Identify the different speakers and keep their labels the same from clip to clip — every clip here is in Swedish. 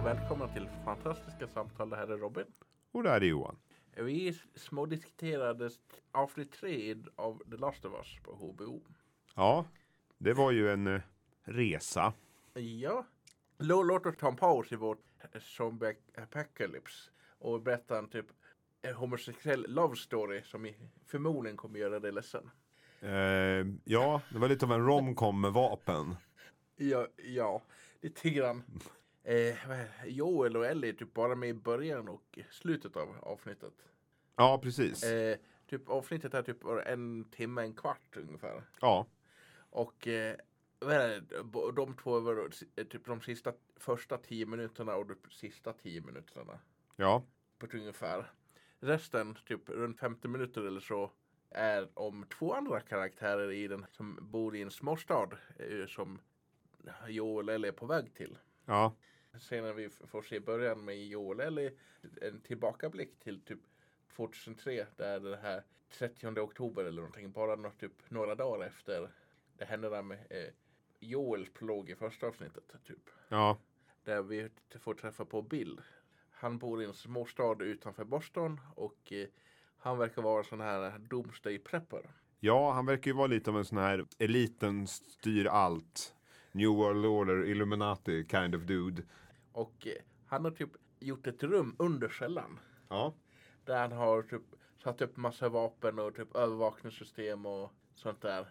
Speaker 1: och välkomna till fantastiska samtal. Det här är Robin.
Speaker 2: Och det här är Johan.
Speaker 1: Vi smådiskuterade avsnitt tre av The Last of Us på HBO.
Speaker 2: Ja, det var ju en eh, resa.
Speaker 1: Ja, Lå- låt oss ta en paus i vårt zombie apocalypse och berätta en typ en homosexuell love story som i- förmodligen kommer göra dig ledsen.
Speaker 2: Eh, ja, det var lite av en romcom med vapen.
Speaker 1: Ja, ja lite grann. Eh, vad är- Joel och Ellie är typ bara med i början och slutet av avsnittet.
Speaker 2: Ja, precis.
Speaker 1: Eh, typ avsnittet är typ bara en timme, en kvart ungefär.
Speaker 2: Ja,
Speaker 1: Och eh, vad är det? Bo- de två var då si- eh, typ de sista första tio minuterna och de sista tio minuterna.
Speaker 2: ja,
Speaker 1: På ett ungefär. Resten, typ runt 50 minuter eller så, är om två andra karaktärer i den som bor i en småstad eh, som Joel eller är på väg till.
Speaker 2: ja,
Speaker 1: Senare vi f- får se i början med Joel eller en tillbakablick till typ 2003 där det här 30 oktober eller någonting bara nå- typ några dagar efter det hände där med eh, Joels plåg i första avsnittet typ.
Speaker 2: ja,
Speaker 1: Där vi t- får träffa på Bill. Han bor i en småstad utanför Boston och eh, han verkar vara en sån här doomsday prepper.
Speaker 2: ja. Han verkar ju vara lite av en sån här eliten styr allt. New World Order, Illuminati kind of dude.
Speaker 1: Och eh, han har typ gjort ett rum under källan
Speaker 2: Ja,
Speaker 1: Där han har typ satt upp massa vapen och typ övervakningssystem och sånt där.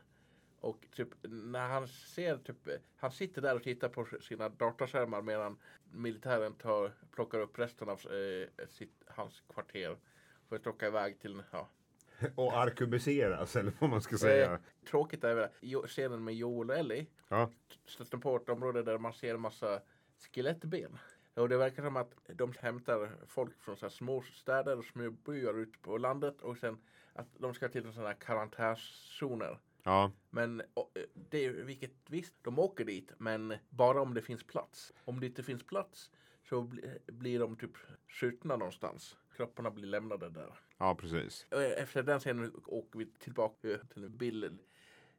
Speaker 1: Och typ när han ser typ, han sitter där och tittar på sina dataskärmar medan militären tar, plockar upp resten av eh, sitt, hans kvarter. För att åka iväg till, ja.
Speaker 2: och arkubiseras eller vad man ska
Speaker 1: Eh,
Speaker 2: säga.
Speaker 1: tråkigt är väl jo- scenen med Joel och Ellie.
Speaker 2: Ja,
Speaker 1: stöter på ett område där man ser en massa skelettben. Och det verkar som att de hämtar folk från så här små städer och små byar ute på landet och sen att de ska till sådana här karantänszoner.
Speaker 2: ja,
Speaker 1: Men och, eh, det, är- vilket visst, de åker dit men bara om det finns plats. Om det inte finns plats så bli, blir de typ skjutna någonstans. Kropparna blir lämnade där.
Speaker 2: ja, precis.
Speaker 1: Och Eh, Efter den scenen åker vi tillbaka till Bill.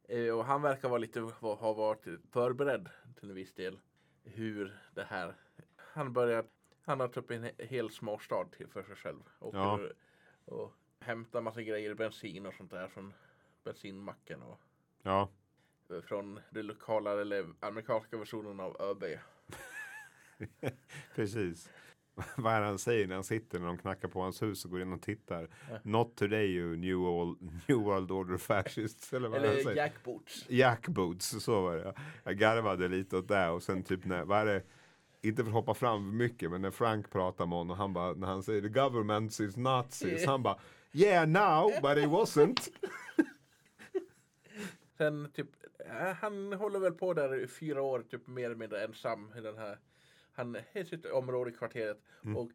Speaker 1: Eh, Och han verkar vara lite, ha varit förberedd till en viss del. Hur det här. Han börjar, han har typ en hel småstad till för sig själv. Och,
Speaker 2: Ja.
Speaker 1: och hämtar massa grejer, bensin och sånt där från bensinmacken. Och eh,
Speaker 2: Ja,
Speaker 1: från den lokala eller amerikanska versionen av ÖB.
Speaker 2: precis. Vad är det han säger när han sitter när de knackar på hans hus och går in och tittar? Not today you new, old, new world order fascists. Eller vad är det han
Speaker 1: Eller
Speaker 2: säger?
Speaker 1: Jack Boots.
Speaker 2: Jackboots, så var det. Jag garvade lite åt det och sen typ när, vad är det? Inte för att hoppa fram för mycket, men när Frank pratar med honom, han bara, när han säger the government is nazis, han bara yeah now, but it wasn't.
Speaker 1: Sen typ, äh, han håller väl på där i fyra år typ mer eller mindre ensam i den här. Han är i sitt område i kvarteret och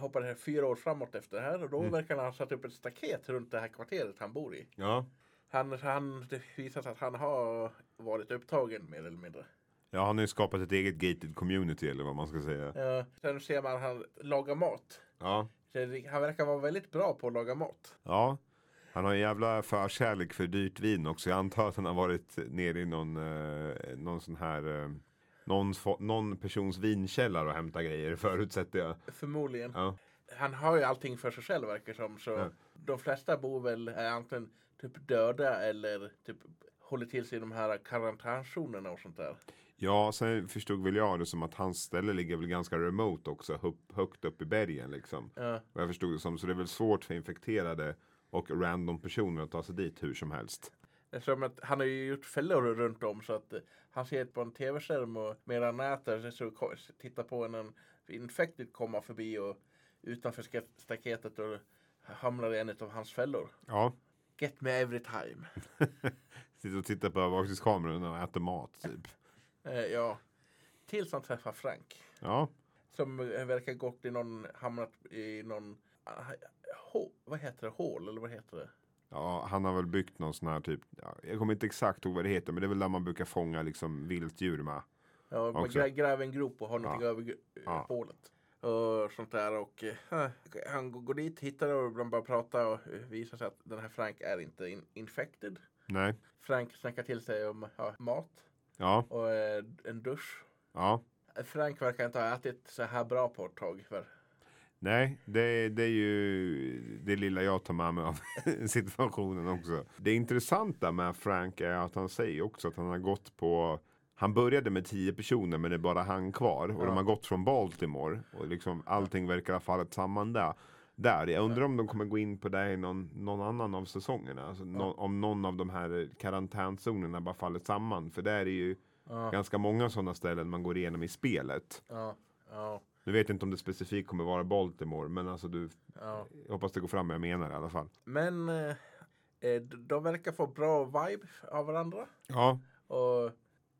Speaker 1: hoppar här fyra år framåt efter det här och då verkar han ha satt upp ett staket runt det här kvarteret han bor i.
Speaker 2: Ja,
Speaker 1: Han, han, det visar sig att han har varit upptagen mer eller mindre.
Speaker 2: ja han har ju skapat ett eget gated community eller vad man ska säga.
Speaker 1: Eh, sen ser man han lagar mat.
Speaker 2: Ja,
Speaker 1: Så det- Han verkar vara väldigt bra på att laga mat.
Speaker 2: ja. Han har en jävla förkärlek för dyrt vin också. Jag antar att han har varit nere i någon, eh, någon sån här, eh, någon, fo- någon persons vinkällare och hämtat grejer förutsätter jag.
Speaker 1: Förmodligen.
Speaker 2: Ja.
Speaker 1: Han har ju allting för sig själv verkar som. Så
Speaker 2: Ja.
Speaker 1: De flesta bor väl är antingen typ döda eller typ håller till sig i de här karantänzonerna och sånt där.
Speaker 2: Ja, sen förstod väl jag det som att hans ställe ligger väl ganska remote också, upp, högt upp i bergen liksom.
Speaker 1: Ja.
Speaker 2: Och jag förstod det som, så det är väl svårt för infekterade och random personer att ta sig dit hur som helst.
Speaker 1: Eftersom att han har ju gjort fällor runt om så att eh, han ser på en tv-skärm och medan han äter så ko- tittar på en, en infekted komma förbi och utanför ska- staketet och hamnar i en av hans fällor.
Speaker 2: Ja.
Speaker 1: Get me every time.
Speaker 2: Sitter och tittar på övervakningskameran och äter mat typ.
Speaker 1: Eh, ja. Tills han träffar Frank.
Speaker 2: Ja,
Speaker 1: Som eh, verkar gått i någon, hamnat i någon, ah, hå, vad heter det, hål eller vad heter det?
Speaker 2: ja han har väl byggt någon sån här typ, ja, jag kommer inte exakt ihåg vad det heter, men det är väl där man brukar fånga liksom viltdjur med.
Speaker 1: Ja, man
Speaker 2: Också.
Speaker 1: grä, gräver en grop och har någonting över gr-
Speaker 2: Ja.
Speaker 1: hålet. Och sånt där och eh, han går- går dit, hittar det och de börjar prata och eh, visar sig att den här Frank är inte in, infected.
Speaker 2: Nej.
Speaker 1: Frank snackar till sig om ja, mat
Speaker 2: Ja,
Speaker 1: och eh, en dusch.
Speaker 2: ja,
Speaker 1: Frank verkar inte ha ätit så här bra på ett tag. För.
Speaker 2: Nej, det, det är ju det lilla jag tar med mig av situationen också. Det intressanta med Frank är att han säger också att han har gått på han började med tio personer men det är bara han kvar och
Speaker 1: Ja.
Speaker 2: de har gått från Baltimore och liksom allting verkar ha fallit samman där. Där, jag undrar om de kommer gå in på det i någon, någon annan av säsongerna. Alltså, nå- om någon av de här karantänzonerna bara faller samman. För där är det ju
Speaker 1: Ja,
Speaker 2: ganska många sådana ställen man går igenom i spelet.
Speaker 1: ja, ja,
Speaker 2: Nu vet jag inte om det specifikt kommer vara Baltimore, men alltså du,
Speaker 1: ja.
Speaker 2: jag hoppas det går fram vad jag menar i alla fall.
Speaker 1: Men eh, eh, de verkar få bra vibe av varandra.
Speaker 2: Ja,
Speaker 1: Och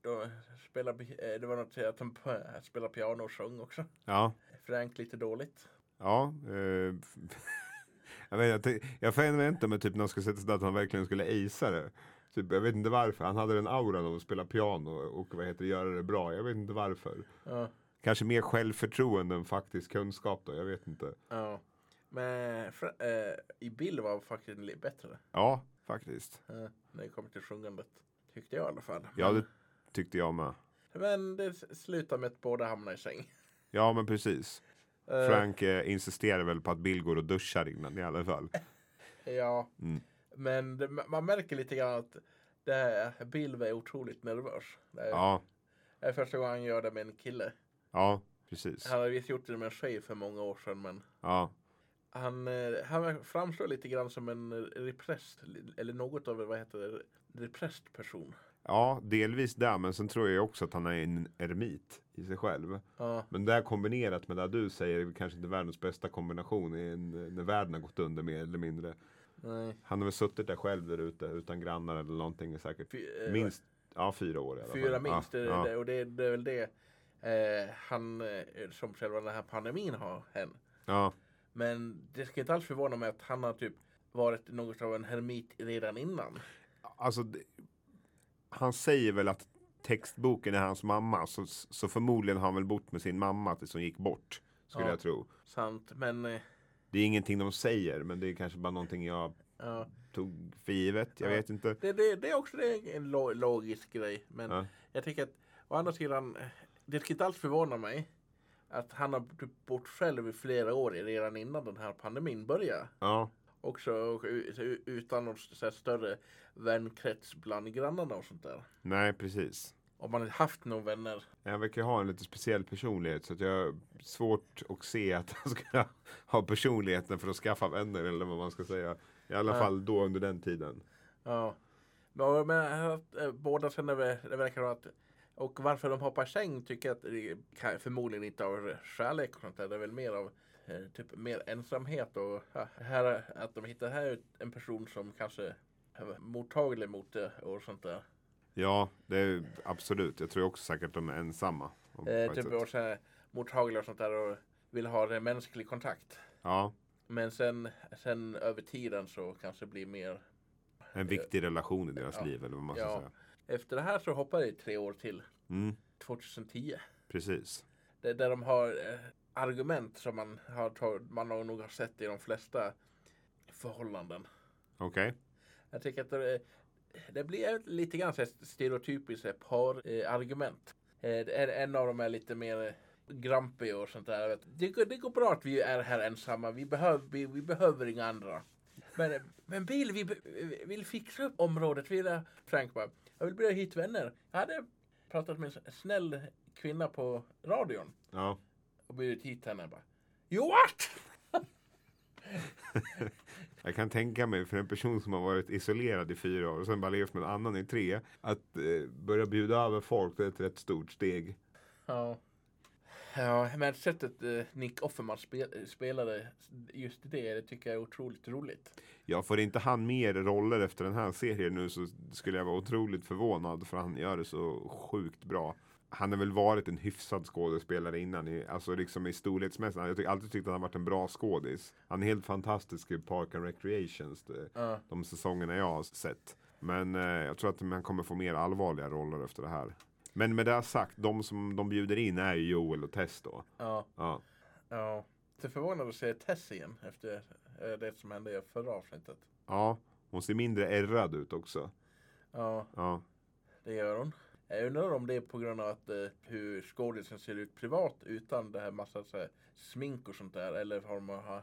Speaker 1: de spelar, pi- eh, det var något att de p- spelade piano och sjöng också.
Speaker 2: ja,
Speaker 1: Frank lite dåligt.
Speaker 2: ja. Eh, jag vet, jag, tänk- jag förväntade mig typ när han skulle sätta sig där att han verkligen skulle acea det. Typ, jag vet inte varför, han hade den auran av att spela piano och vad heter det, göra det bra. Jag vet inte varför.
Speaker 1: Ja,
Speaker 2: Kanske mer självförtroende än faktisk kunskap då, jag vet inte.
Speaker 1: ja. Men Fra- eh, i bild var faktiskt lite bättre.
Speaker 2: Ja, faktiskt.
Speaker 1: Eh, när det kommer till sjungandet. Tyckte jag i alla fall.
Speaker 2: Ja, det tyckte jag med.
Speaker 1: Men det s- slutar med att båda hamnar i säng.
Speaker 2: Ja, men precis.
Speaker 1: Eh,
Speaker 2: Frank eh, insisterar väl på att Bill går och duschar innan i alla fall.
Speaker 1: Ja.
Speaker 2: Mm.
Speaker 1: Men det, man märker lite grann att det här, Bill var otroligt nervös. Det är,
Speaker 2: Ja,
Speaker 1: det är första gången han gör det med en kille.
Speaker 2: ja, precis.
Speaker 1: Han hade visst gjort det med en tjej för många år sedan men
Speaker 2: Ja,
Speaker 1: han, eh, han framstår lite grann som en eh, repressed eller något av en, vad heter det, repressed person.
Speaker 2: ja delvis där, men sen tror jag också att han är en eremit i sig själv.
Speaker 1: Ja,
Speaker 2: Men det här kombinerat med det du säger är kanske inte världens bästa kombination i en, när världen har gått under mer eller mindre.
Speaker 1: nej.
Speaker 2: Han har väl suttit där själv där ute utan grannar eller någonting säkert.
Speaker 1: Fy- eh,
Speaker 2: Minst ja, fyra år i alla fall.
Speaker 1: Fyra minst,
Speaker 2: Ja,
Speaker 1: det,
Speaker 2: ja.
Speaker 1: det, och det, det är väl det eh, han eh, som själva den här pandemin har hänt.
Speaker 2: ja,
Speaker 1: Men det ska inte alls förvåna mig att han har typ varit något av en hermit redan innan.
Speaker 2: alltså, det- han säger väl att textboken är hans mamma. Så, så förmodligen har han väl bott med sin mamma tills hon gick bort. Skulle
Speaker 1: Ja.
Speaker 2: jag tro.
Speaker 1: Sant, men eh,
Speaker 2: Det är ingenting de säger, men det är kanske bara någonting jag
Speaker 1: ja.
Speaker 2: tog för givet. Jag
Speaker 1: Ja.
Speaker 2: vet inte.
Speaker 1: det, det, det är också det är en lo- logisk grej. Men
Speaker 2: Ja.
Speaker 1: jag tycker att å andra sidan, eh, det ska inte alls förvåna mig att han har typ bott själv i flera år redan innan den här pandemin började.
Speaker 2: Ja,
Speaker 1: Också och u- u- utan någon så här större vänkrets bland grannarna och sånt där.
Speaker 2: nej precis.
Speaker 1: Om man inte haft några vänner.
Speaker 2: Han verkar ha en lite speciell personlighet så att jag har svårt att se att han skulle ha personligheten för att skaffa vänner eller vad man ska säga. I alla
Speaker 1: Ja.
Speaker 2: fall då under den tiden.
Speaker 1: Ja. Men, men att, eh, båda känner väl- det verkar vara att och varför de hoppar i säng tycker jag att det kan, förmodligen inte av kärlek och sånt där. Det är väl mer av eh, typ mer ensamhet och ja, här, att de hittar här ut en person som kanske är mottaglig mot det och sånt där.
Speaker 2: Ja, det är absolut. Jag tror också säkert de är ensamma. om- på
Speaker 1: Eh,
Speaker 2: ett
Speaker 1: typ
Speaker 2: sätt.
Speaker 1: och så här, mottaglig och sånt där och vill ha eh, mänsklig kontakt.
Speaker 2: Ja,
Speaker 1: Men sen, sen över tiden så kanske det blir mer.
Speaker 2: en viktig relation i deras
Speaker 1: Eh, Ja.
Speaker 2: liv eller vad man ska
Speaker 1: Ja.
Speaker 2: säga.
Speaker 1: Efter det här så hoppar det tre år till.
Speaker 2: Mm,
Speaker 1: 2010.
Speaker 2: precis.
Speaker 1: Det, där de har eh, argument som man har, tag- man har nog har sett i de flesta förhållanden.
Speaker 2: Okej.
Speaker 1: Jag tycker att det, eh, det blir lite grann så här stereotypiskt eh, par-argument. En, en av dem Eh, är lite mer eh, grumpy och sånt där. Vet. Det, går- det går bra att vi är här ensamma. Vi behöver, vi, vi behöver inga andra. Men, eh, men Bill, vi, be- vi vill fixa upp området. Vi vill ha- Frank bara, jag vill bli hit vänner. Jag hade pratat med en snäll kvinna på radion
Speaker 2: Ja.
Speaker 1: och bjudit hit henne. Bara, you what?
Speaker 2: Jag kan tänka mig för en person som har varit isolerad i fyra år och sen bara levt med en annan i tre. Att eh, börja bjuda över folk det är ett rätt stort steg.
Speaker 1: Ja. Ja, men sättet eh, Nick Offerman spel, eh, spelade just det, det tycker jag är otroligt roligt.
Speaker 2: Ja, får inte han mer roller efter den här serien nu så skulle jag vara otroligt förvånad för han gör det så sjukt bra. Han har väl varit en hyfsad skådespelare innan, i, alltså liksom i storleksmässigt. Jag har alltid tyckt att han varit en bra skådis. Han är helt fantastisk i Park and Recreations, det,
Speaker 1: Ja.
Speaker 2: de säsongerna jag har sett. Men eh, jag tror att han kommer få mer allvarliga roller efter det här. Men med det sagt, de som de bjuder in är ju Joel och Tess då.
Speaker 1: Ja.
Speaker 2: Ja,
Speaker 1: ja. Lite förvånad att se Tess igen efter eh, det som hände i förra avsnittet.
Speaker 2: ja hon ser mindre ärrad ut också.
Speaker 1: Ja,
Speaker 2: Ja.
Speaker 1: det gör hon. Jag undrar om det är på grund av att, eh, hur skådisen ser ut privat utan det här massa så här, smink och sånt där. Eller har man har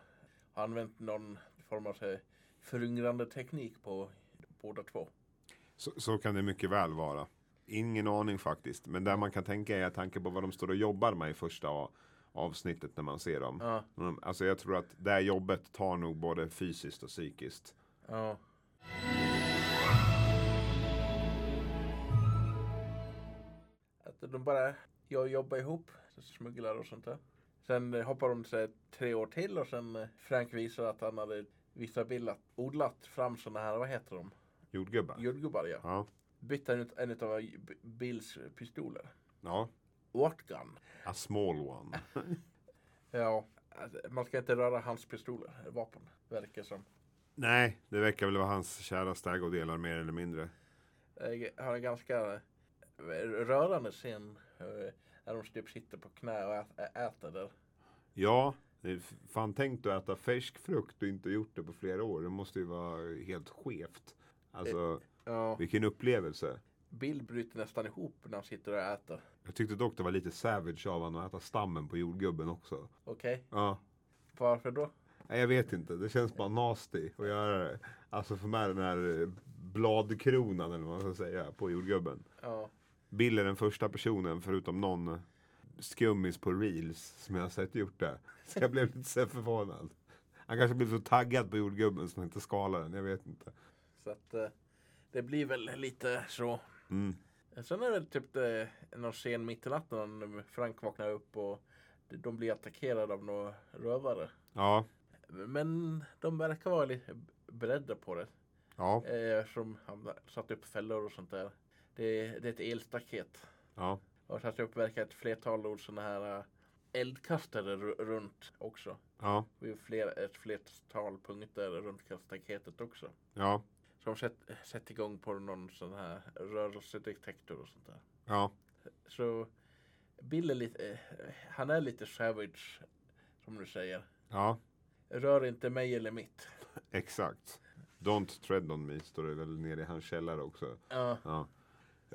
Speaker 1: använt någon form av så här, föryngrande teknik på båda två.
Speaker 2: Så, så kan det mycket väl vara. Ingen aning faktiskt. Men där man kan tänka är tanke på vad de står och jobbar med i första a- avsnittet när man ser dem.
Speaker 1: Ja,
Speaker 2: Mm, Alltså jag tror att det här jobbet tar nog både fysiskt och psykiskt.
Speaker 1: ja. Att de bara jag jobbar ihop, så smugglar och sånt där. Sen eh, hoppar de så här, tre år till och sen eh, Frank visar att han hade vissa bildat, odlat fram såna här, vad heter de?
Speaker 2: Jordgubbar.
Speaker 1: Jordgubbar ja.
Speaker 2: Ja.
Speaker 1: bytte han ut en av B- Bills pistoler.
Speaker 2: ja.
Speaker 1: Wattgun.
Speaker 2: A small one.
Speaker 1: Ja. Alltså, man ska inte röra hans pistoler, eller vapen, verkar som.
Speaker 2: Nej, det verkar väl vara hans käraste ägodelar mer eller mindre.
Speaker 1: Jag har en ganska eh, rörande scen eh, när de typ sitter på knä och ä- äter där.
Speaker 2: Ja, det är f- fan tänkt att äta färsk frukt och inte gjort det på flera år. Det måste ju vara helt skevt. Alltså,
Speaker 1: Ja.
Speaker 2: vilken upplevelse.
Speaker 1: Bill bryter nästan ihop när han sitter och äter.
Speaker 2: Jag tyckte dock det var lite savage av honom att äta stammen på jordgubben också.
Speaker 1: Okej,
Speaker 2: Ja.
Speaker 1: varför då?
Speaker 2: Nej, jag vet inte. Det känns bara nasty att göra det. Alltså för mig den här eh, bladkronan eller vad man ska säga på jordgubben.
Speaker 1: Ja.
Speaker 2: Bill är den första personen förutom någon eh, skummis på reels som jag har sett gjort det. Så jag blev lite så här förvånad. Han kanske blev så taggad på jordgubben som inte skalar den. Jag vet inte.
Speaker 1: Så att eh, det blir väl lite så.
Speaker 2: Mm.
Speaker 1: Sen är det väl typ det, någon scen mitt i natten när Frank vaknar upp och de blir attackerade av några rövare.
Speaker 2: Ja,
Speaker 1: Men de verkar vara lite beredda på det.
Speaker 2: ja,
Speaker 1: Eh, som han satt upp fällor och sånt där. Det, det är ett elstaket.
Speaker 2: ja.
Speaker 1: Och satt upp verkar ett flertal ord sådana här eh, eldkastare ru- runt också.
Speaker 2: Ja,
Speaker 1: Vid fler, ett flertal punkter runt staketet också.
Speaker 2: ja,
Speaker 1: Som sett, sett igång på någon sån här rörelsedetektor och sånt där.
Speaker 2: ja.
Speaker 1: Så Bill är lite, eh, han är lite savage som du säger.
Speaker 2: Ja,
Speaker 1: Rör inte mig eller mitt.
Speaker 2: exakt. Don't tread on me står det väl nere i hans källare också.
Speaker 1: Ja,
Speaker 2: Ja,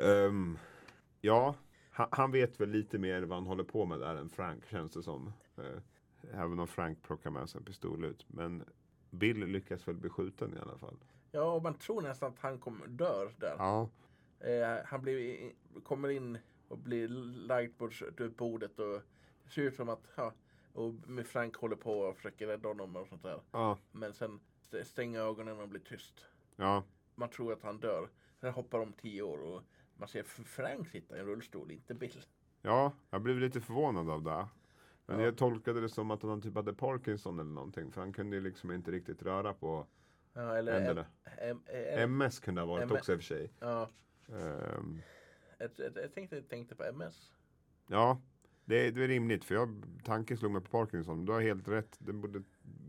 Speaker 2: Ehm, ja. Han, han vet väl lite mer vad han håller på med där än Frank känns det som. Eh, även om Frank plockar med sig en pistol ut. Men Bill lyckas väl bli skjuten i alla fall.
Speaker 1: ja och man tror nästan att han kommer dör där.
Speaker 2: Ja,
Speaker 1: Eh, han blir, i- kommer in och blir lagd på s- bordet och det ser ut som att ja, och med Frank håller på och försöker rädda honom och sånt där.
Speaker 2: ja,
Speaker 1: Men sen st- stänger ögonen och blir tyst.
Speaker 2: ja,
Speaker 1: Man tror att han dör. Sen hoppar de tio år och man ser F- Frank sitta i en rullstol, inte Bill.
Speaker 2: ja. Jag blev lite förvånad av det. Men
Speaker 1: Ja.
Speaker 2: jag tolkade det som att han typ hade Parkinson eller någonting. För han kunde ju liksom inte riktigt röra på
Speaker 1: Ja, eller
Speaker 2: händerna.
Speaker 1: M- M-
Speaker 2: MS kunde ha varit
Speaker 1: M-
Speaker 2: också i och för sig.
Speaker 1: ja,
Speaker 2: Ehm,
Speaker 1: jag, jag, jag tänkte, tänkte på MS.
Speaker 2: Ja, det, det är rimligt. För jag, tanken slog mig på Parkinson. Du har helt rätt. Det, borde,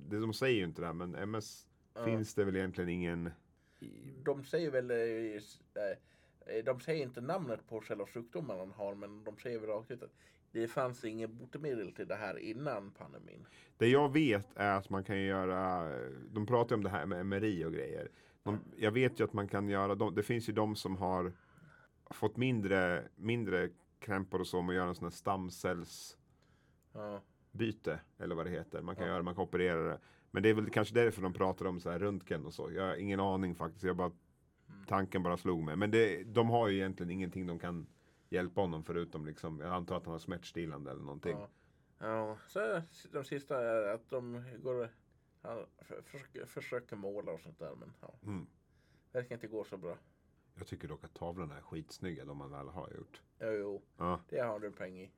Speaker 2: det de säger ju inte det, här, men MS
Speaker 1: Ja.
Speaker 2: finns det väl egentligen ingen...
Speaker 1: De säger väl... eh, s- eh, eh, De säger inte namnet på själva sjukdomen han har men de säger väl rakt ut att det fanns inget botemedel till det här innan pandemin.
Speaker 2: Det jag vet är att man kan ju göra... De pratar ju om det här med MRI och grejer. De, jag vet ju att man kan göra... De, det finns ju de som har fått mindre, mindre krämpor och så med att göra en sån här stamcells...
Speaker 1: Ja,
Speaker 2: byte eller vad det heter. Man kan
Speaker 1: Ja.
Speaker 2: göra man kan operera det. Men det är väl kanske därför de pratar om så här röntgen och så. Jag har ingen aning faktiskt. Jag bara,
Speaker 1: Mm.
Speaker 2: tanken bara slog mig. Men det, de har ju egentligen ingenting de kan hjälpa honom förutom liksom, jag antar att han har smärtstillande eller någonting.
Speaker 1: ja. ja. Så de sista är att de går... Han för- försöker, försöker måla och sånt där men ja.
Speaker 2: Mm.
Speaker 1: Verkar inte gå så bra.
Speaker 2: Jag tycker dock att tavlorna är skitsnygga, de man väl har gjort.
Speaker 1: Jo, jo
Speaker 2: Ja.
Speaker 1: det har du en peng i.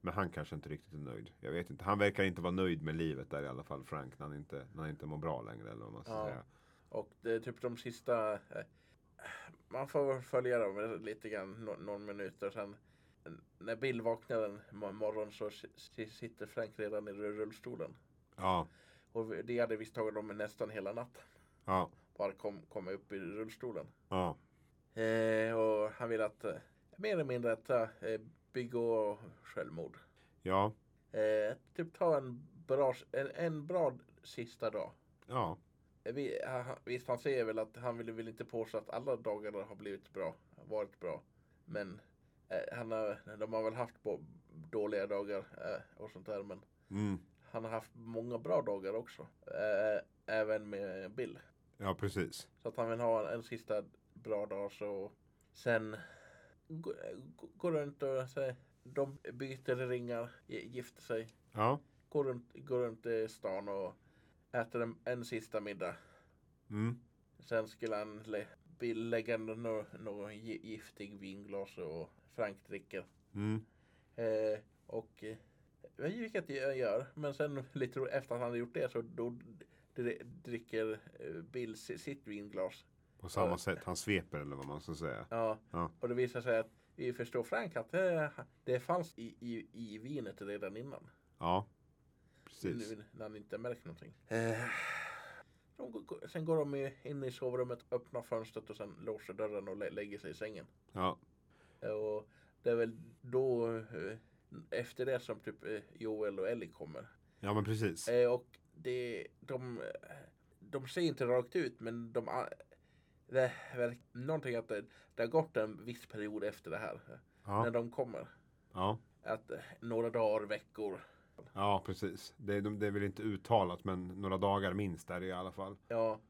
Speaker 2: Men han kanske inte riktigt är nöjd. Jag vet inte. Han verkar inte vara nöjd med livet där i alla fall, Frank, när han inte, när han inte mår bra längre. Eller vad man ska
Speaker 1: Ja.
Speaker 2: säga.
Speaker 1: Och det är typ de sista... eh, Man får väl följa dem lite grann, nå- någon minut och sen eh, när Bill vaknar en mo- morgon så si- si- sitter Frank redan i rull- rullstolen.
Speaker 2: Ja,
Speaker 1: Och vi- det hade visst tagit dem nästan hela natten.
Speaker 2: ja,
Speaker 1: Bara kom, komma upp i rullstolen.
Speaker 2: ja,
Speaker 1: Eh, och han vill att eh, mer eller mindre att eh, begå självmord.
Speaker 2: ja,
Speaker 1: Eh, typ ta en bra, en, en bra sista dag.
Speaker 2: ja,
Speaker 1: Vi, han, han- visst, han säger väl att han vill, vill inte påstå att alla dagar har blivit bra, varit bra. Men eh, han har, de har väl haft på dåliga dagar eh, och sånt där. Men
Speaker 2: Mm.
Speaker 1: han har haft många bra dagar också. Eh, även med Bill.
Speaker 2: Ja, precis.
Speaker 1: Så att han vill ha en, en sista bra dag så sen gå- gå- går runt och säger de byter ringar, gi- gifter sig,
Speaker 2: Ja.
Speaker 1: går runt, går runt i stan och äter en, en sista middag.
Speaker 2: Mm.
Speaker 1: Sen skulle han lä- Bill lägga något no, giftig vinglas och Frank dricker.
Speaker 2: Mm.
Speaker 1: Eh, och eh, jag vet inte vilket jag gör. Men sen lite ro- efter att han hade gjort det så då dri- dricker eh, Bill si- sitt vinglas.
Speaker 2: På samma
Speaker 1: Ja.
Speaker 2: sätt. Han sveper eller vad man ska säga.
Speaker 1: Ja.
Speaker 2: Ja.
Speaker 1: Och det visar sig att vi förstår Frank att det, det fanns i, i, i vinet redan innan.
Speaker 2: Ja. Precis.
Speaker 1: Nu när han inte märkt någonting. Eh. De, går- går- sen går de ju in i sovrummet, öppnar fönstret och sen låser dörren och lä- lägger sig i sängen.
Speaker 2: Ja.
Speaker 1: Eh, Och det är väl då eh, efter det som typ eh, Joel och Ellie kommer.
Speaker 2: Ja, men precis.
Speaker 1: Eh, och det, de, eh, de ser inte rakt ut men de a- det verkar någonting att det, det har gått en viss period efter det här. eh, När
Speaker 2: Ja.
Speaker 1: de kommer.
Speaker 2: Ja.
Speaker 1: Att eh, några dagar, veckor.
Speaker 2: Ja, precis. Det är, de- det är väl inte uttalat, men några dagar minst där i alla fall.
Speaker 1: Ja,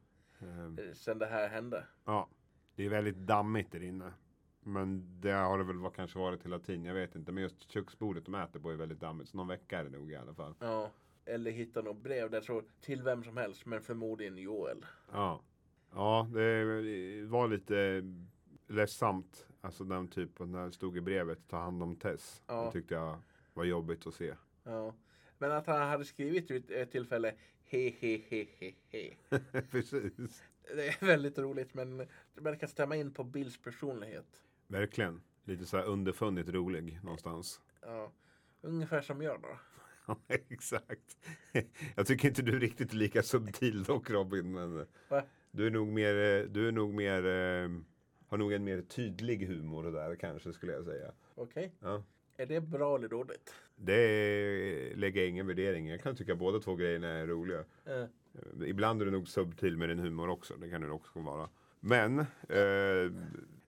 Speaker 2: Ehm,
Speaker 1: eh, sen det här hände.
Speaker 2: Ja, det är väldigt dammigt där inne. Men det har det väl var, kanske varit hela tiden, jag vet inte. Men just köksbordet de äter på är väldigt dammigt, så någon vecka är det nog i alla fall.
Speaker 1: Ja. Eller hitta något brev där så till vem som helst men förmodligen Joel.
Speaker 2: Ja, ja det var lite ledsamt. Alltså den typ, när det stod i brevet, ta hand om Tess.
Speaker 1: Ja.
Speaker 2: Det tyckte jag var jobbigt att se.
Speaker 1: Ja. Men att han hade skrivit vid ett tillfälle he he he he he.
Speaker 2: Precis.
Speaker 1: Det är väldigt roligt men det verkar stämma in på Bills personlighet.
Speaker 2: Verkligen. Lite så här underfundigt rolig någonstans.
Speaker 1: Ja. Ungefär som jag då.
Speaker 2: Ja, exakt. Jag tycker inte du är riktigt lika subtil dock Robin. Men
Speaker 1: Va?
Speaker 2: du är nog mer, eh, du är nog mer, eh, har nog en mer tydlig humor där kanske skulle jag säga.
Speaker 1: Okej.
Speaker 2: Ja.
Speaker 1: Är det bra eller dåligt?
Speaker 2: Det är- lägger jag ingen värdering i. Jag kan tycka båda två grejerna är roliga.
Speaker 1: Eh,
Speaker 2: Eh, Ibland är du nog subtil med din humor också. Det kan du också vara. Men eh,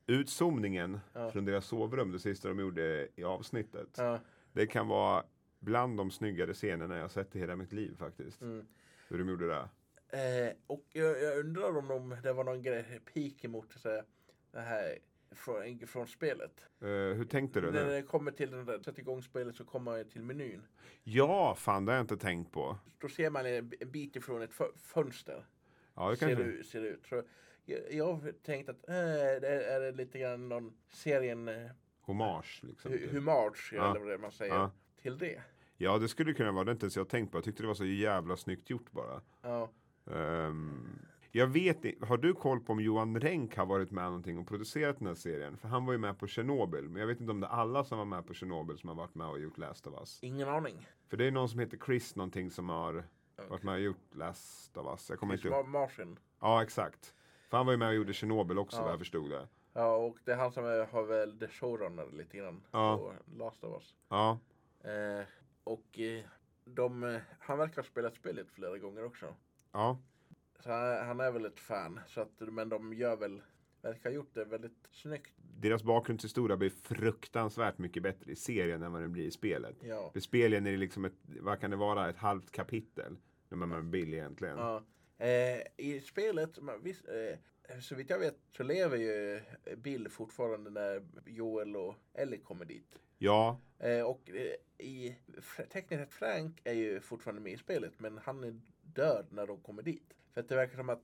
Speaker 2: utzoomningen
Speaker 1: Ja.
Speaker 2: från deras sovrum, det sista de gjorde i avsnittet.
Speaker 1: ja.
Speaker 2: Det kan vara bland de snyggare scenerna jag sett i hela mitt liv faktiskt.
Speaker 1: Mm.
Speaker 2: Hur de gjorde det.
Speaker 1: Eh, och jag, jag undrar om de, det var någon grej, peak emot så här, det här från, från spelet.
Speaker 2: Eh, hur tänkte du?
Speaker 1: När
Speaker 2: nu?
Speaker 1: det kommer till den där, sätt igång spelet så kommer man till menyn.
Speaker 2: Ja, fan det har jag inte tänkt på.
Speaker 1: Då ser man en en bit ifrån ett fö- fönster.
Speaker 2: Ja, det
Speaker 1: ser,
Speaker 2: kanske...
Speaker 1: det, ut- ser det ut. Så jag, jag tänkte att eh, det är, är det lite grann någon serien eh,
Speaker 2: Hommage liksom.
Speaker 1: hu-
Speaker 2: typ.
Speaker 1: humage
Speaker 2: Ja.
Speaker 1: eller vad det är man säger
Speaker 2: Ja.
Speaker 1: till det.
Speaker 2: Ja, det skulle kunna vara. Det har inte ens jag tänkt på. Jag tyckte det var så jävla snyggt gjort bara.
Speaker 1: Ja.
Speaker 2: Ehm, jag vet inte. Har du koll på om Johan Renck har varit med någonting och producerat den här serien? För han var ju med på Tjernobyl. Men jag vet inte om det är alla som var med på Tjernobyl som har varit med och gjort Last of Us.
Speaker 1: Ingen aning.
Speaker 2: För det är någon som heter Chris någonting som har varit
Speaker 1: Okej.
Speaker 2: med och gjort Last of Us. Jag kommer
Speaker 1: Chris
Speaker 2: inte ihåg.
Speaker 1: Ma- Martin.
Speaker 2: Ja, exakt. För han var ju med och gjorde Tjernobyl också
Speaker 1: Ja.
Speaker 2: vad jag förstod det.
Speaker 1: Ja, och det är han som är, har väl The Showrunner lite grann
Speaker 2: Ja.
Speaker 1: på Last of Us.
Speaker 2: Ja,
Speaker 1: Eh, och eh, de, eh, han verkar ha spelat spelet flera gånger också.
Speaker 2: ja.
Speaker 1: Så han, han är väl ett fan. Så att, men de gör väl, verkar ha gjort det väldigt snyggt.
Speaker 2: deras bakgrundshistoria blir fruktansvärt mycket bättre i serien än vad den blir i spelet.
Speaker 1: Ja.
Speaker 2: För spelen är det liksom ett, vad kan det vara, ett halvt kapitel. När man är Bill egentligen. Ja.
Speaker 1: ja. Eh, I spelet, man, visst, eh, så vitt jag vet så lever ju Bill fortfarande när Joel och Ellie kommer dit.
Speaker 2: ja,
Speaker 1: Eh, och eh, i Fra- tecknet Frank är ju fortfarande med i spelet men han är död när de kommer dit. För att det verkar som att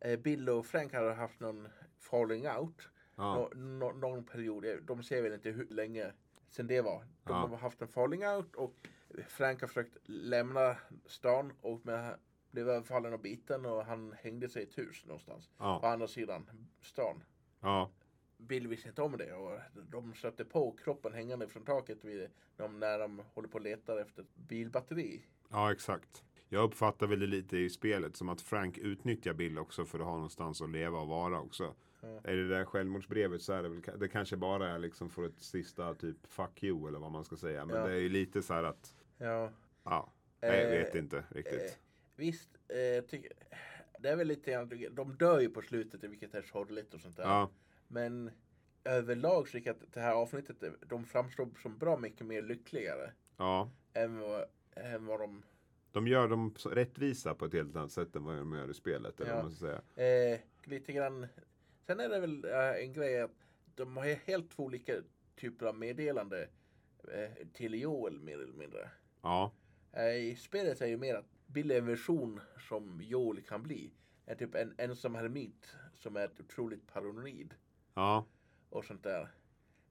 Speaker 1: eh, Bill och Frank har haft någon falling out. Nå, nå, någon period, Eh, de ser väl inte hur länge sen det var. De
Speaker 2: Ja.
Speaker 1: har haft en falling out och Frank har försökt lämna stan och men blev överfallen och biten och han hängde sig i ett hus någonstans. På
Speaker 2: ja,
Speaker 1: andra sidan stan.
Speaker 2: ja,
Speaker 1: Bill visste inte om det och de stötte på kroppen hängande från taket vid de, när de håller på och letar efter ett bilbatteri.
Speaker 2: ja, exakt. Jag uppfattar väl det lite i spelet som att Frank utnyttjar Bill också för att ha någonstans att leva och vara också.
Speaker 1: Ja.
Speaker 2: Är det där självmordsbrevet så är det väl, ka- det kanske bara är liksom för ett sista typ fuck you eller vad man ska säga. Men
Speaker 1: Ja.
Speaker 2: det är ju lite så här att,
Speaker 1: Ja,
Speaker 2: ja, jag
Speaker 1: Eh,
Speaker 2: vet inte riktigt.
Speaker 1: eh, visst, eh, ty- det är väl lite grann, de dör ju på slutet vilket är sorgligt och sånt där.
Speaker 2: ja.
Speaker 1: Men överlag så tycker jag att det här avsnittet, de framstår som bra mycket mer lyckligare.
Speaker 2: Ja.
Speaker 1: Än vad, än vad de...
Speaker 2: De gör dem så- rättvisa på ett helt annat sätt än vad de gör i spelet. Eller
Speaker 1: Ja.
Speaker 2: vad man ska säga.
Speaker 1: Eh, lite grann... Sen är det väl eh, en grej att de har helt två olika typer av meddelande eh, till Joel mer eller mindre.
Speaker 2: Ja.
Speaker 1: Eh, I spelet är ju mer att Bill är en version som Joel kan bli. En typ en ensam hermit som är otroligt paranoid
Speaker 2: Ja.
Speaker 1: och sånt där.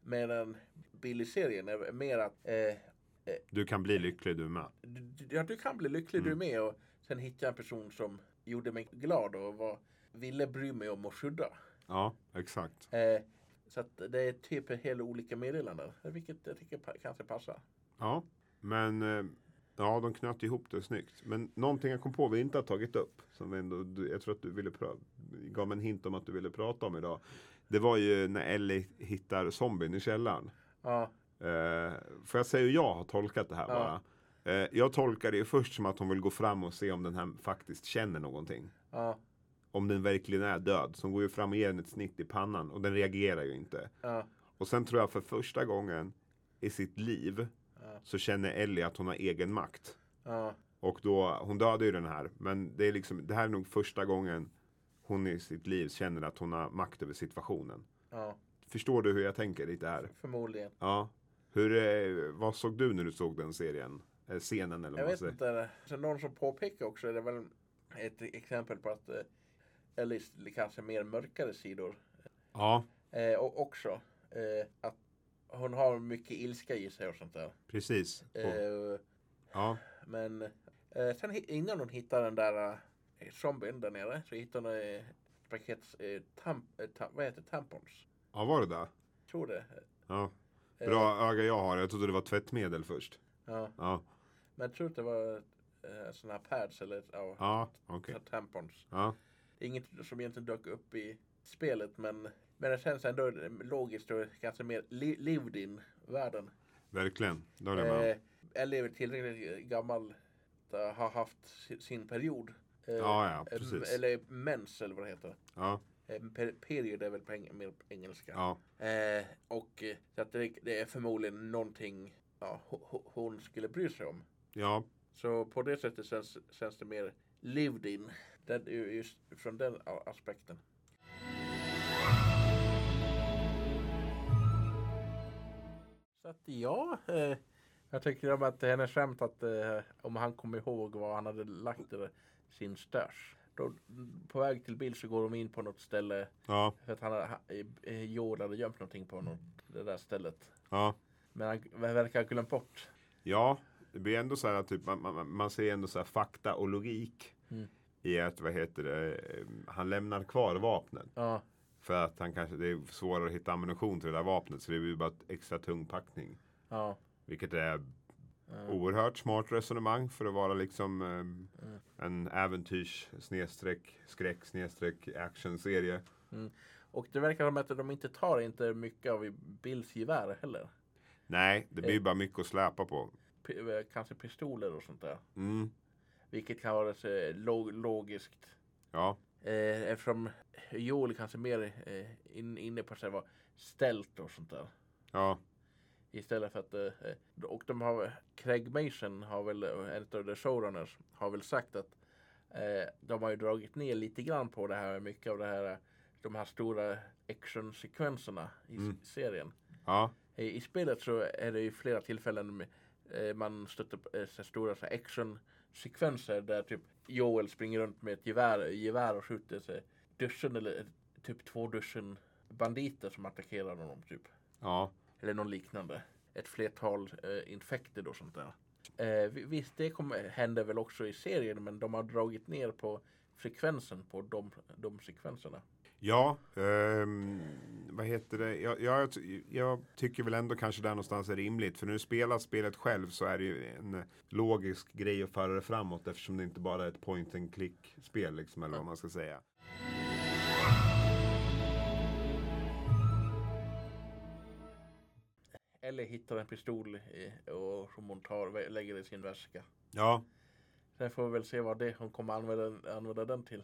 Speaker 1: Medan Bill i serien är mer att eh,
Speaker 2: Du kan bli lycklig du med.
Speaker 1: du, du- ja, du kan bli lycklig du med och sen hittade jag en person som gjorde mig glad och var, ville bry mig om och skydda.
Speaker 2: Ja, exakt.
Speaker 1: Eh, så att det är typ helt olika meddelanden, vilket jag tycker pa- kanske passar.
Speaker 2: Ja. Men eh, ja, de knöt ihop det snyggt. Men någonting jag kom på vi inte har tagit upp. Som vi ändå, du- jag tror att du ville pra- gav mig en hint om att du ville prata om idag. Det var ju när Ellie hittar zombien i källaren.
Speaker 1: Ja,
Speaker 2: Eh, får jag säga hur jag har tolkat det här
Speaker 1: Ja.
Speaker 2: bara? Eh, jag tolkar det ju först som att hon vill gå fram och se om den här faktiskt känner någonting.
Speaker 1: ja,
Speaker 2: Om den verkligen är död. Så hon går ju fram och ger den ett snitt i pannan och den reagerar ju inte.
Speaker 1: ja,
Speaker 2: Och sen tror jag för första gången i sitt liv
Speaker 1: Ja.
Speaker 2: så känner Ellie att hon har egen makt.
Speaker 1: ja,
Speaker 2: Och då, hon dödar ju den här. Men det, är liksom, det här är nog första gången hon i sitt liv känner att hon har makt över situationen.
Speaker 1: ja,
Speaker 2: Förstår du hur jag tänker lite här?
Speaker 1: förmodligen.
Speaker 2: Ja. Hur, eh, vad såg du när du såg den serien? Eh, Scenen eller
Speaker 1: Jag
Speaker 2: vad man
Speaker 1: vet
Speaker 2: säger?
Speaker 1: inte. Sen någon som påpekar också, det är väl ett exempel på att eh, Ellis kanske mer mörkare sidor
Speaker 2: Ja,
Speaker 1: eh, och också. Eh, att hon har mycket ilska i sig och sånt där.
Speaker 2: precis. Och,
Speaker 1: Eh,
Speaker 2: ja,
Speaker 1: Men eh, sen hi- innan hon hittar den där eh, zombien där nere så hittar hon eh, ett paket eh, tam, eh, ta, vad heter det? tampons.
Speaker 2: ja, var det där?
Speaker 1: Tror det.
Speaker 2: Ja.
Speaker 1: Eh,
Speaker 2: Bra öga jag har. Jag trodde det var tvättmedel först.
Speaker 1: Ja.
Speaker 2: Ja,
Speaker 1: Men jag tror att det var eh, sådana här pads eller ja,
Speaker 2: ja Ah, okej.
Speaker 1: såna här tampons.
Speaker 2: Ja,
Speaker 1: Det är inget som egentligen dök upp i spelet men, men det känns ändå logiskt och kanske mer li, lived in världen.
Speaker 2: verkligen. Det håller jag med om.
Speaker 1: Eh, eller är väl tillräckligt gammal att ha haft si- sin period. Eh,
Speaker 2: Ja, ja,
Speaker 1: eh,
Speaker 2: precis.
Speaker 1: Eller mens eller vad det heter.
Speaker 2: Ja,
Speaker 1: Eh, per- Period är väl på eng- mer på engelska.
Speaker 2: ja,
Speaker 1: Eh, och eh, så att det, det är förmodligen någonting ja, ho- ho- hon skulle bry sig om.
Speaker 2: ja,
Speaker 1: Så på det sättet känns, känns det mer lived in. Den, ju- just från den a- aspekten. Så att ja. Eh, jag tycker om att hennes skämt att eh, om han kom ihåg var han hade lagt i sin störs. Då, på väg till bil så går de in på något ställe
Speaker 2: ja,
Speaker 1: för att han hade, eh, Joel hade gömt någonting på något, det där stället.
Speaker 2: ja.
Speaker 1: Men han verkar ha glömt bort.
Speaker 2: Ja, det blir ändå så här typ man, man, man ser ändå så här fakta och logik
Speaker 1: Mm.
Speaker 2: i att vad heter det, eh, han lämnar kvar vapnet
Speaker 1: Ja,
Speaker 2: för att han kanske det är svårare att hitta ammunition till det där vapnet så det blir bara ett extra tung packning.
Speaker 1: ja,
Speaker 2: Vilket är
Speaker 1: Ja.
Speaker 2: oerhört smart resonemang för att vara liksom eh, en äventyrs snedstreck skräck snedstreck actionserie.
Speaker 1: Och det verkar som att de inte tar inte mycket av Bills gevär heller.
Speaker 2: Nej, det blir bara mycket att släpa på.
Speaker 1: P- eh, kanske pistoler och sånt där.
Speaker 2: Mm.
Speaker 1: Vilket kan vara så eh, log- logiskt.
Speaker 2: Ja,
Speaker 1: Eh, eftersom Joel kanske mer eh, in, inne på sig var ställt och sånt där.
Speaker 2: ja,
Speaker 1: Istället för att, eh, eh, och de har, Craig Mason har väl, eh, en av the showrunners, har väl sagt att eh, de har ju dragit ner lite grann på det här, mycket av det här, eh, de här stora actionsekvenserna i s-
Speaker 2: Mm.
Speaker 1: serien.
Speaker 2: ja,
Speaker 1: Eh, I spelet så är det ju flera tillfällen med, eh, man stöter på eh, så stora så här actionsekvenser där typ Joel springer runt med ett gevär, gevär och skjuter sig dussin eller eh, typ två dussin banditer som attackerar honom typ
Speaker 2: ja,
Speaker 1: eller någon liknande. Ett flertal eh, infekter och sånt där. Eh, vi- visst, det kommer, händer väl också i serien, men de har dragit ner på frekvensen på de, de sekvenserna.
Speaker 2: Ja, ehm, vad heter det? Jag, jag, jag tycker väl ändå kanske där någonstans är rimligt. För när du spelar spelet själv så är det ju en logisk grej att föra det framåt eftersom det inte bara är ett point and click spel liksom, eller vad man ska säga.
Speaker 1: Eller hittar en pistol i, och som hon tar och lägger i sin väska.
Speaker 2: Ja,
Speaker 1: Sen får vi väl se vad det hon kommer använda, använda den till.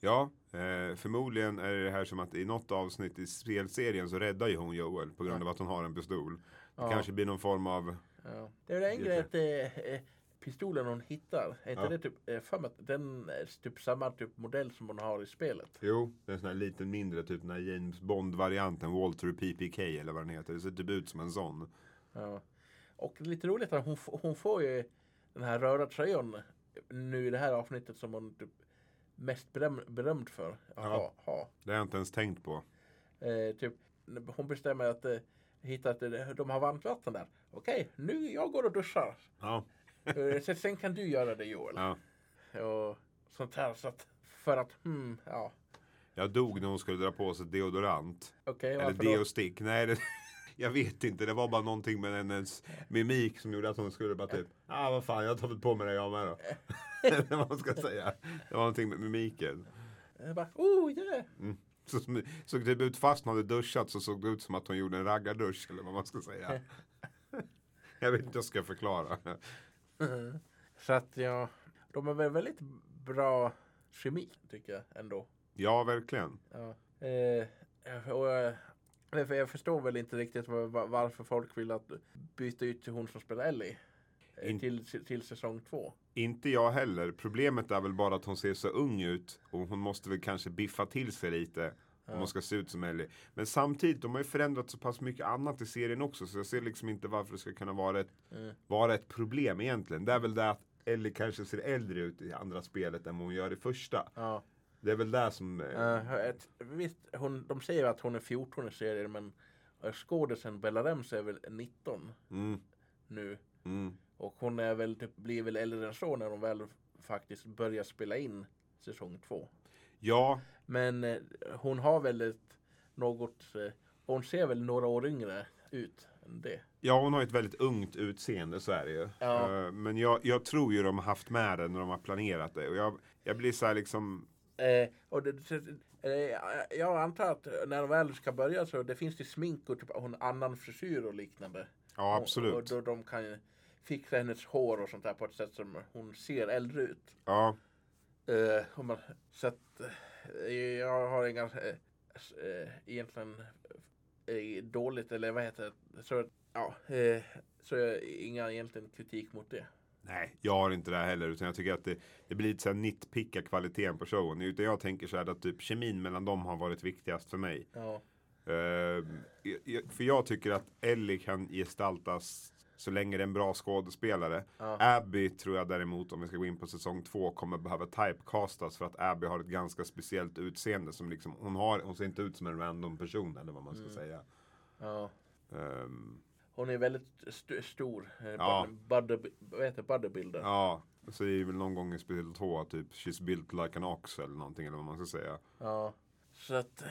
Speaker 2: Ja, eh, förmodligen är det här som att i något avsnitt i spelserien så räddar ju hon Joel på grund av att hon har en pistol. Det
Speaker 1: Ja.
Speaker 2: kanske blir någon form av...
Speaker 1: Ja. Det är väl en
Speaker 2: Det
Speaker 1: grej
Speaker 2: är
Speaker 1: att eh, eh, pistolen hon hittar, är inte
Speaker 2: Ja.
Speaker 1: det typ, eh, för mig att den är typ samma typ modell som hon har i spelet?
Speaker 2: Jo, det är en sån här liten mindre, typ den här James Bond-varianten, Walter PPK eller vad den heter. Det ser typ ut som en sån.
Speaker 1: Ja. Och det är lite roligt att hon, f- hon får ju den här röda tröjan nu i det här avsnittet som hon typ mest beröm, berömd för att
Speaker 2: Ja.
Speaker 1: ha. ha.
Speaker 2: Det har jag inte ens tänkt på.
Speaker 1: Eh, typ, hon bestämmer att eh, hitta att eh, de har varmt vatten där. Okej, nu jag går och duschar.
Speaker 2: Ja,
Speaker 1: Eh, så sen kan du göra det Joel.
Speaker 2: ja.
Speaker 1: Och sånt här. Så att, för att, hmm, ja.
Speaker 2: Jag dog när hon skulle dra på sig deodorant.
Speaker 1: Okej,
Speaker 2: Eller
Speaker 1: varför då?
Speaker 2: deostick. Nej, det, jag vet inte. Det var bara någonting med hennes mimik som gjorde att hon skulle bara typ. Ah, vad fan, jag tar väl på mig det jag med då. Eller vad man ska säga. Det var någonting med mimiken.
Speaker 1: Jag bara, oh yeah.
Speaker 2: Så, som- såg typ ut fast hon hade duschat så såg det ut som att hon gjorde en raggardusch eller vad man ska säga. Jag vet inte hur jag ska förklara.
Speaker 1: Så att ja, de har väl väldigt bra kemi tycker jag ändå.
Speaker 2: Ja, verkligen.
Speaker 1: Ja. Eh, och, jag- för jag förstår väl inte riktigt var- var- varför folk vill att byta ut till hon som spelar Ellie. eh,
Speaker 2: In-
Speaker 1: Till, till säsong två.
Speaker 2: Inte jag heller. Problemet är väl bara att hon ser så ung ut och hon måste väl kanske biffa till sig lite. Om hon ska se ut som Ellie. Men samtidigt, de har ju förändrat så pass mycket annat i serien också så jag ser liksom inte varför det ska kunna vara ett, vara ett problem egentligen. Det är väl det att Ellie kanske ser äldre ut i andra spelet än vad hon gör i första.
Speaker 1: Ja.
Speaker 2: Det är väl det som... eh,
Speaker 1: Eh, ett, visst, hon, de säger att hon är 14 i serien men eh, skådisen Bella Ramsey är väl 19
Speaker 2: Mm,
Speaker 1: nu.
Speaker 2: mm.
Speaker 1: Och hon är väl typ, blir väl äldre än så när de väl faktiskt börjar spela in säsong två.
Speaker 2: Ja,
Speaker 1: Men eh, hon har väl ett något, eh, hon ser väl några år yngre ut än det.
Speaker 2: Ja, hon har ett väldigt ungt utseende så är det ju.
Speaker 1: Ja.
Speaker 2: Eh, Men jag, jag tror ju de har haft med det när de har planerat det. Och jag, jag blir så här liksom,
Speaker 1: Eh, och det, det- eh, jag antar att när de väl ska börja så det finns det smink och typ, hon annan frisyr och liknande.
Speaker 2: ja
Speaker 1: Och, och
Speaker 2: absolut.
Speaker 1: då de kan ju fixa hennes hår och sånt där på ett sätt som hon ser äldre ut.
Speaker 2: Ja,
Speaker 1: Eh, om man, så att eh, jag har inga eh, s- eh, egentligen eh, dåligt eller vad heter det? Så, ja, eh, så jag har inga egentligen kritik mot det.
Speaker 2: nej, jag har inte det här heller. Utan jag tycker att det, det blir lite så här nitpicka kvaliteten på showen. Utan jag tänker så här att typ kemin mellan dem har varit viktigast för mig.
Speaker 1: Ja.
Speaker 2: Eh, jag- För jag tycker att Ellie kan gestaltas så länge det är en bra skådespelare.
Speaker 1: Ja.
Speaker 2: Abby tror jag däremot, om vi ska gå in på säsong två, kommer behöva typecastas för att Abby har ett ganska speciellt utseende. Som liksom, hon, har, hon ser inte ut som en random person eller vad man ska säga.
Speaker 1: ja.
Speaker 2: Ehm,
Speaker 1: Hon är väldigt st- stor. eh,
Speaker 2: Ja.
Speaker 1: Body, vad heter det? bodybuilder.
Speaker 2: ja, så det är väl någon gång i spel två, typ She's built like an ox eller någonting eller vad man ska säga.
Speaker 1: Ja. Så att,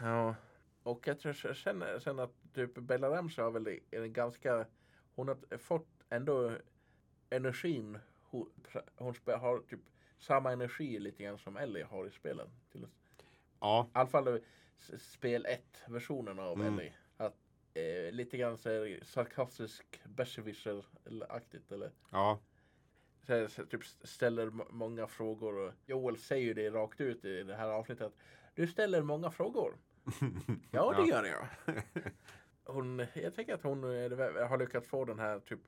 Speaker 1: ja. Och jag tror jag känner sen att typ Bella Ramsey har väl en ganska, hon har fått ändå energin, hon, hon spe- har typ samma energi lite grann som Ellie har i spelen. Till, I
Speaker 2: Ja,
Speaker 1: alla fall s- spel 1-versionen av
Speaker 2: Mm.
Speaker 1: Ellie. Att, eh, lite grann så är det sarkastisk besserwisser-aktigt eller
Speaker 2: ja,
Speaker 1: så här, så, typ ställer m- många frågor. Och Joel säger ju det rakt ut i det här avsnittet. att Du ställer många frågor. ja, det
Speaker 2: Ja.
Speaker 1: gör jag. Hon, jag tänker att hon är, har lyckats få den här typ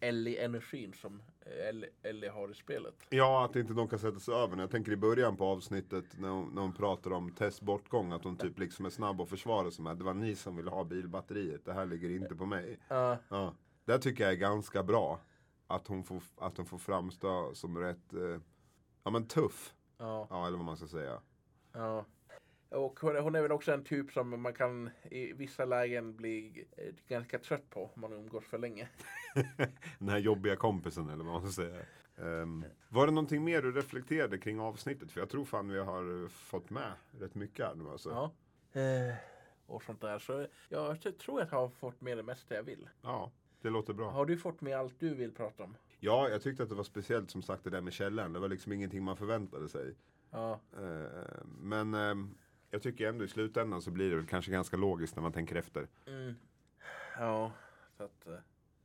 Speaker 1: Ellie-energin som eh, Ellie, Ellie har i spelet.
Speaker 2: Ja, att inte de kan sätta sig över. Jag tänker i början på avsnittet när hon, när hon pratar om Tess bortgång, att hon typ liksom är snabb och försvarar sig med det var ni som ville ha bilbatteriet, det här ligger inte på mig.
Speaker 1: Ja,
Speaker 2: Ja. Det här tycker jag är ganska bra. Att hon får, att hon får framstå som rätt, eh, ja men tuff.
Speaker 1: ja,
Speaker 2: Ja, eller vad man ska säga.
Speaker 1: ja. Och hon hon är väl också en typ som man kan i vissa lägen bli eh, ganska trött på om man umgås för länge.
Speaker 2: Den här jobbiga kompisen eller vad man ska säga. Ehm, var det någonting mer du reflekterade kring avsnittet? För jag tror fan vi har eh, fått med rätt mycket här nu alltså.
Speaker 1: Ja. Eh, och sånt där. Så jag tror att jag har fått med det mesta jag vill.
Speaker 2: ja, det låter bra.
Speaker 1: Har du fått med allt du vill prata om?
Speaker 2: Ja, jag tyckte att det var speciellt som sagt det där med källaren. Det var liksom ingenting man förväntade sig.
Speaker 1: Ja,
Speaker 2: Eh, Men ehm, jag tycker ändå i slutändan så blir det väl kanske ganska logiskt när man tänker efter.
Speaker 1: mm. ja så att, eh,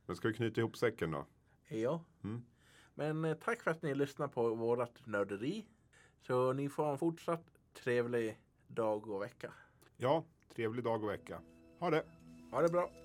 Speaker 2: Men ska vi knyta ihop säcken då?
Speaker 1: ja.
Speaker 2: Mm.
Speaker 1: Men eh, tack för att ni lyssnar på vårat nörderi. Så ni får ha en fortsatt trevlig dag och vecka.
Speaker 2: Ja, trevlig dag och vecka. Ha det!
Speaker 1: Ha det bra!